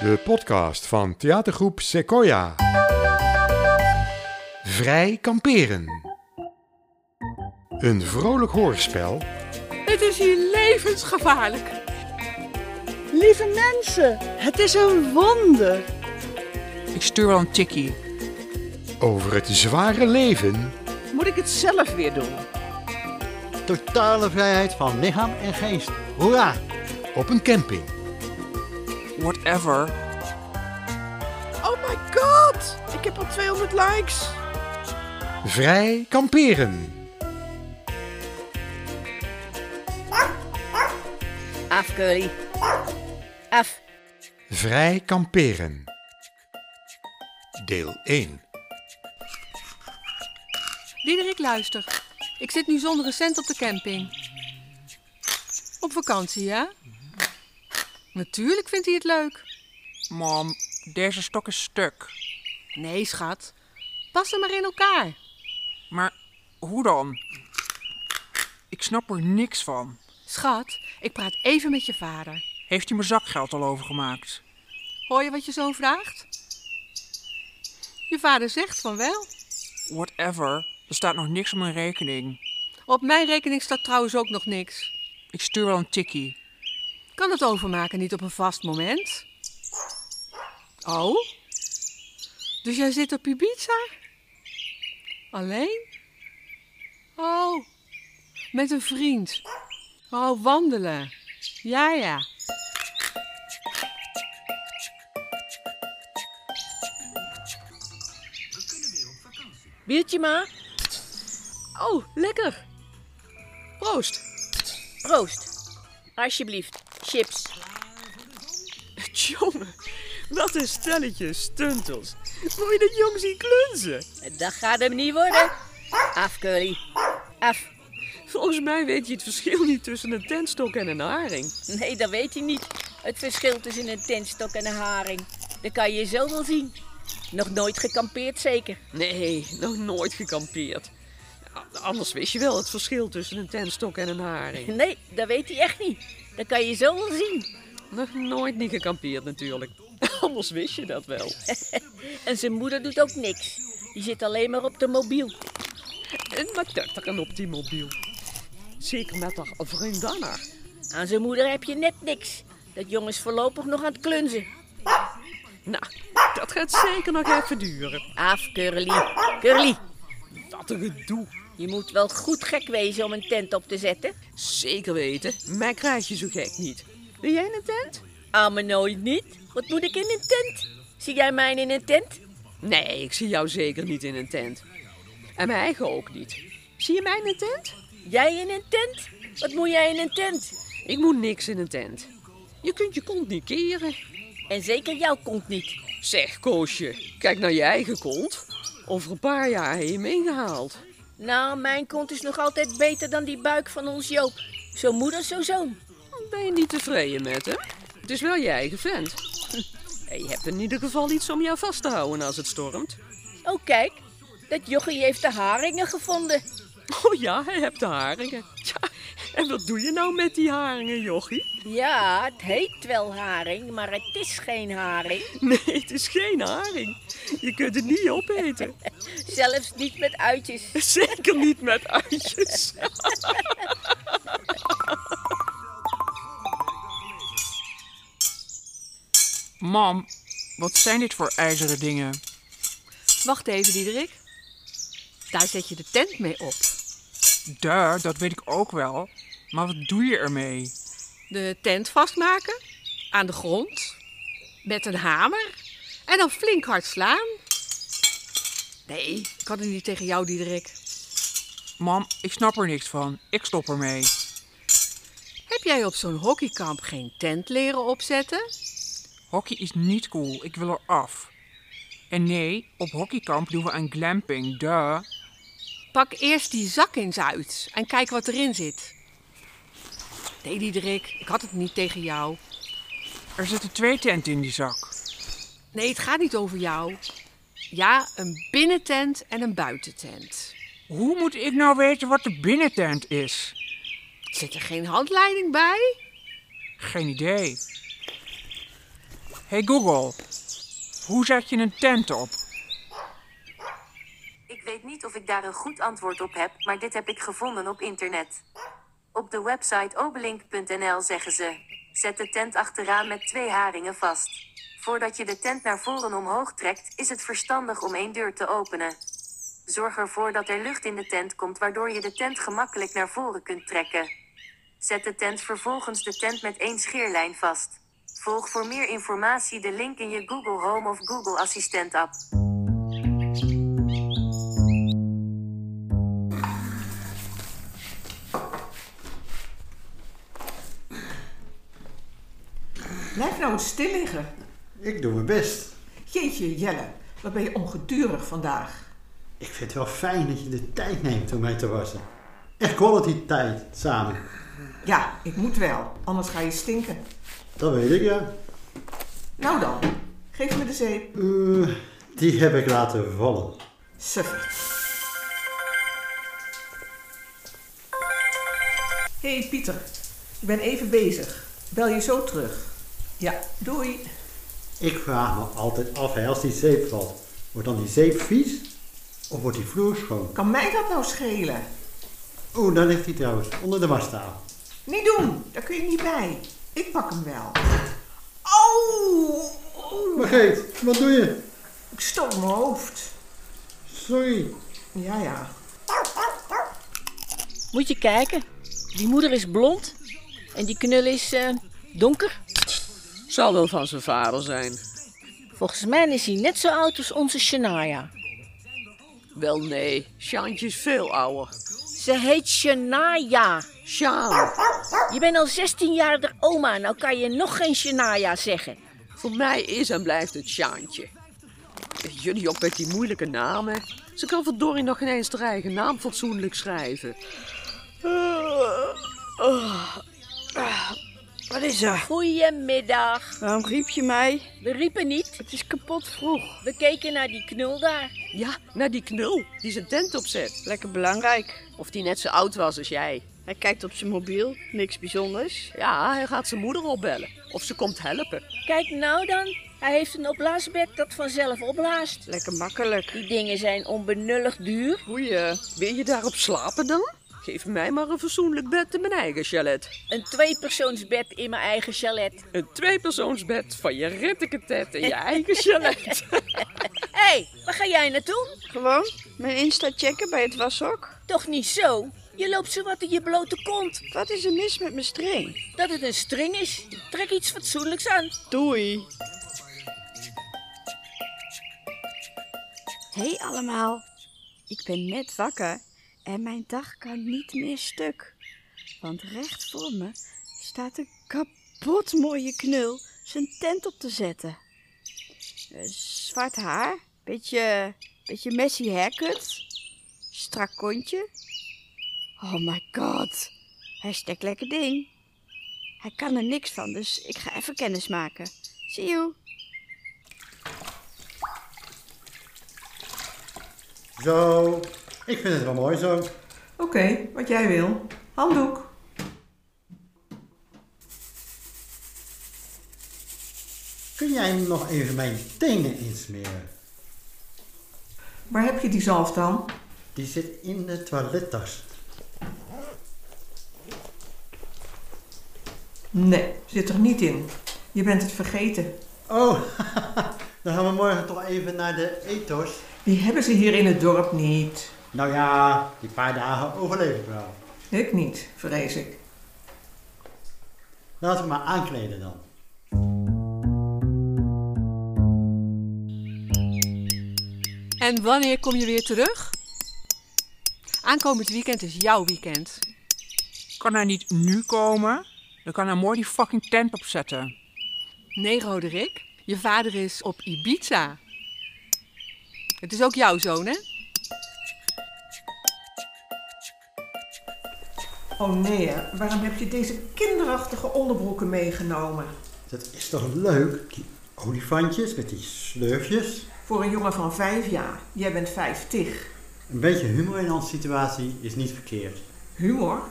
De podcast van theatergroep Sequoia. Vrij kamperen. Een vrolijk hoorspel Het is hier levensgevaarlijk. Lieve mensen, het is een wonder. Ik stuur wel een tikkie. over het zware leven Moet ik het zelf weer doen? Totale vrijheid van lichaam en geest. Hoera! op een camping. Whatever. Oh my god, ik heb al 200 likes. Vrij kamperen. Af, Curly. Af. Vrij kamperen. Deel 1. Diederik, luister. Ik zit nu zonder een cent op de camping. Op vakantie, ja? Natuurlijk vindt hij het leuk. Mam, deze stok is stuk. Nee, schat. Pas hem maar in elkaar. Maar hoe dan? Ik snap er niks van. Schat, ik praat even met je vader. Heeft hij mijn zakgeld al overgemaakt? Hoor je wat je zoon vraagt? Je vader zegt van wel. Whatever, er staat nog niks op mijn rekening. Op mijn rekening staat trouwens ook nog niks. Ik stuur wel een tikkie. Kan het overmaken niet op een vast moment? Oh? Dus jij zit op Ibiza? Alleen? Oh, met een vriend. Oh, wandelen. Ja, ja. Biertje maar. Oh, lekker. Proost. Proost. Alsjeblieft. Chips. Jongen, wat een stelletje stuntels. Moet je dat jong zien klunzen? Dat gaat hem niet worden. Af, Curly. Af. Volgens mij weet je het verschil niet tussen een tentstok en een haring. Nee, dat weet hij niet. Het verschil tussen een tentstok en een haring. Dat kan je zo wel zien. Nog nooit gekampeerd, zeker. Nee, nog nooit gekampeerd. A- Anders wist je wel het verschil tussen een tentstok en een haring. Nee, dat weet hij echt niet. Dat kan je zo wel zien. Nog nooit niet gekampeerd natuurlijk. Anders wist je dat wel. En zijn moeder doet ook niks. Die zit alleen maar op de mobiel. En wat doet er een op die mobiel? Zeker met haar vriendanna. Aan zijn moeder heb je net niks. Dat jong is voorlopig nog aan het klunzen. Nou, dat gaat zeker nog even duren. Af, Curly. Curly, Wat een gedoe. je moet wel goed gek wezen om een tent op te zetten. Zeker weten. Mij krijg je zo gek niet. Wil jij een tent? Ah, maar nooit niet. Wat moet ik in een tent? Zie jij mij in een tent? Nee, ik zie jou zeker niet in een tent. En mijn eigen ook niet. Zie je mij in een tent? Jij in een tent? Wat moet jij in een tent? Ik moet niks in een tent. Je kunt je kont niet keren. En zeker jouw kont niet. Zeg, Koosje, kijk naar je eigen kont. Over een paar jaar heb je hem ingehaald. Nou, mijn kont is nog altijd beter dan die buik van ons Joop. Zo moeder, zo zoon. Ben je niet tevreden met hem? Het is wel je eigen vent. Hm, Je hebt in ieder geval iets om jou vast te houden als het stormt. Oh, kijk. Dat jochie heeft de haringen gevonden. Oh ja, hij hebt de haringen. Ja, en wat doe je nou met die haringen, jochie? Ja, het heet wel haring, maar het is geen haring. Nee, het is geen haring. Je kunt het niet opeten. Zelfs niet met uitjes. Zeker niet met uitjes. Mam, wat zijn dit voor ijzeren dingen? Wacht even, Diederik. Daar zet je de tent mee op. Duh, dat weet ik ook wel. Maar wat doe je ermee? De tent vastmaken. Aan de grond. Met een hamer. En dan flink hard slaan. Nee, ik kan het niet tegen jou, Diederik. Mam, ik snap er niks van. Ik stop ermee. Heb jij op zo'n hockeykamp geen tent leren opzetten? Hockey is niet cool. Ik wil er af. En nee, op hockeykamp doen we aan glamping. Duh. Pak eerst die zak eens uit en kijk wat erin zit. Nee, Diederik, ik had het niet tegen jou. Er zitten twee tenten in die zak. Nee, het gaat niet over jou. Ja, een binnentent en een buitentent. Hoe moet ik nou weten wat de binnentent is? Zit er geen handleiding bij? Geen idee. Hey Google, hoe zet je een tent op? Ik weet niet of ik daar een goed antwoord op heb, maar dit heb ik gevonden op internet. Op de website obelink.nl zeggen ze: zet de tent achteraan met twee haringen vast. Voordat je de tent naar voren omhoog trekt, is het verstandig om één deur te openen. Zorg ervoor dat er lucht in de tent komt, waardoor je de tent gemakkelijk naar voren kunt trekken. Zet de tent vervolgens de tent met één scheerlijn vast. Volg voor meer informatie de link in je Google Home of Google Assistant app. Blijf nou eens stil liggen. Ik doe mijn best. Jeetje, Jelle, wat ben je ongedurig vandaag. Ik vind het wel fijn dat je de tijd neemt om mij te wassen. Echt quality tijd samen. Ja, ik moet wel, anders ga je stinken. Dat weet ik ja. Nou dan, geef me de zeep. Eh, die heb ik laten vallen. Suffert. Hé hey, Pieter, ik ben even bezig. Bel je zo terug. Ja, doei. Ik vraag me altijd af, hè, als die zeep valt, wordt dan die zeep vies? Of wordt die vloer schoon? Kan mij dat nou schelen? Oeh, daar ligt hij trouwens, onder de wastafel. Niet doen, daar kun je niet bij. Ik pak hem wel. Au! Oeh, Margreet, wat doe je? Ik stoot mijn hoofd. Sorry. Ja, ja. Moet je kijken. Die moeder is blond en die knul is eh, donker. Zal wel van zijn vader zijn. Volgens mij is hij net zo oud als onze Shania. Wel nee, Sjaantje is veel ouder. Ze heet Shania. Sjaan, Je bent al 16 jaar de oma, nou kan je nog geen Shania zeggen. voor mij is en blijft het Sjaantje. Jullie op met die moeilijke namen. Ze kan verdorie nog geen eens haar eigen naam fatsoenlijk schrijven. Wat is er? Goedemiddag. Waarom riep je mij? We riepen niet, Het is kapot vroeg. we keken naar die knul daar. Ja, naar die knul die zijn tent opzet. Lekker belangrijk. Of die net zo oud was als jij. Hij kijkt op zijn mobiel. Niks bijzonders. Ja, hij gaat zijn moeder opbellen. Of ze komt helpen. Kijk nou dan, hij heeft een opblaasbed dat vanzelf opblaast. Lekker makkelijk. Die dingen zijn onbenullig duur. Oei, eh, wil je daarop slapen dan? Geef mij maar een fatsoenlijk bed in mijn eigen chalet. Een tweepersoonsbed in mijn eigen chalet. Een tweepersoonsbed van je rittiketet in je eigen chalet. Hé, hey, waar ga jij naartoe? Gewoon mijn Insta checken bij het washok. Toch niet zo? Je loopt zo wat in je blote kont. Wat is er mis met mijn string? Dat het een string is. Trek iets fatsoenlijks aan. Doei. Hey allemaal. Ik ben net wakker en mijn dag kan nou niet meer stuk. Want recht voor me staat een kapot mooie knul zijn tent op te zetten. Eh, zwart haar, beetje, beetje messy haircut, strak kontje. Oh my god, hashtag lekker ding. Hij kan er niks van, dus ik ga even kennis maken. See you. Zo, ik vind het wel mooi zo. Oké, wat jij wil. Handdoek. Kun jij nog even mijn tenen insmeren? Waar heb je die zalf dan? Die zit in de toilettas. Nee, zit er niet in. Je bent het vergeten. Oh, dan gaan we morgen toch even naar de ethos. Die hebben ze hier in het dorp niet. Nou ja, die paar dagen overleef ik wel. Ik niet, vrees ik. Laten we maar aankleden dan. En wanneer kom je weer terug? Aankomend weekend is jouw weekend. Kan hij niet nu komen? Dan kan hij mooi die fucking tent opzetten. Nee, Roderick. Je vader is op Ibiza. Het is ook jouw zoon, hè? Oh nee, hè. waarom heb je deze kinderachtige onderbroeken meegenomen? Dat is toch leuk? Die olifantjes met die slurfjes. Voor een jongen van vijf jaar. Jij bent vijftig. Een beetje humor in onze situatie is niet verkeerd. Humor?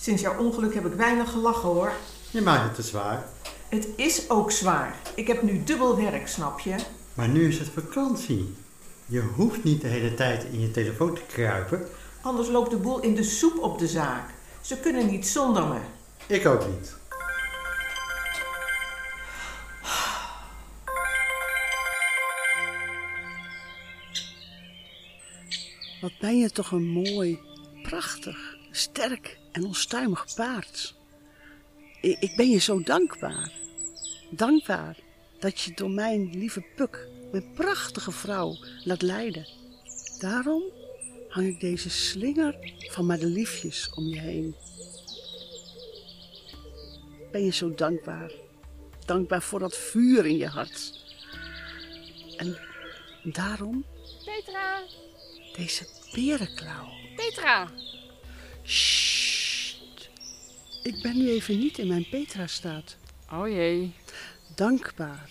Sinds jouw ongeluk heb ik weinig gelachen hoor. Je maakt het te zwaar. Het is ook zwaar. Ik heb nu dubbel werk, snap je? Maar nu is het vakantie. Je hoeft niet de hele tijd in je telefoon te kruipen. Anders loopt de boel in de soep op de zaak. Ze kunnen niet zonder me. Ik ook niet. Wat ben je toch een mooi, prachtig, sterk en onstuimig paard. I- Ik ben je zo dankbaar. Dankbaar dat je door mijn lieve Puk, mijn prachtige vrouw, laat leiden. Daarom hang ik deze slinger van madeliefjes om je heen. Ben je zo dankbaar. Dankbaar voor dat vuur in je hart. En daarom Petra! deze berenklauw. Petra! Ik ben nu even niet in mijn Petra-staat. Oh jee. Dankbaar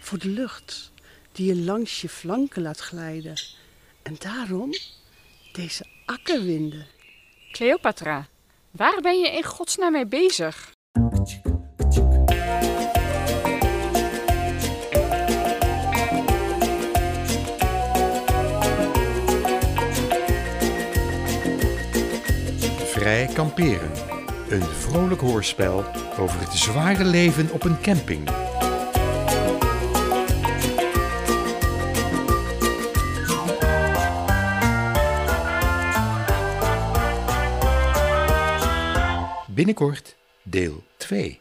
voor de lucht die je langs je flanken laat glijden. En daarom deze akkerwinden. Cleopatra, waar ben je in godsnaam mee bezig? Vrij kamperen. Een vrolijk hoorspel over het zware leven op een camping. Binnenkort deel 2.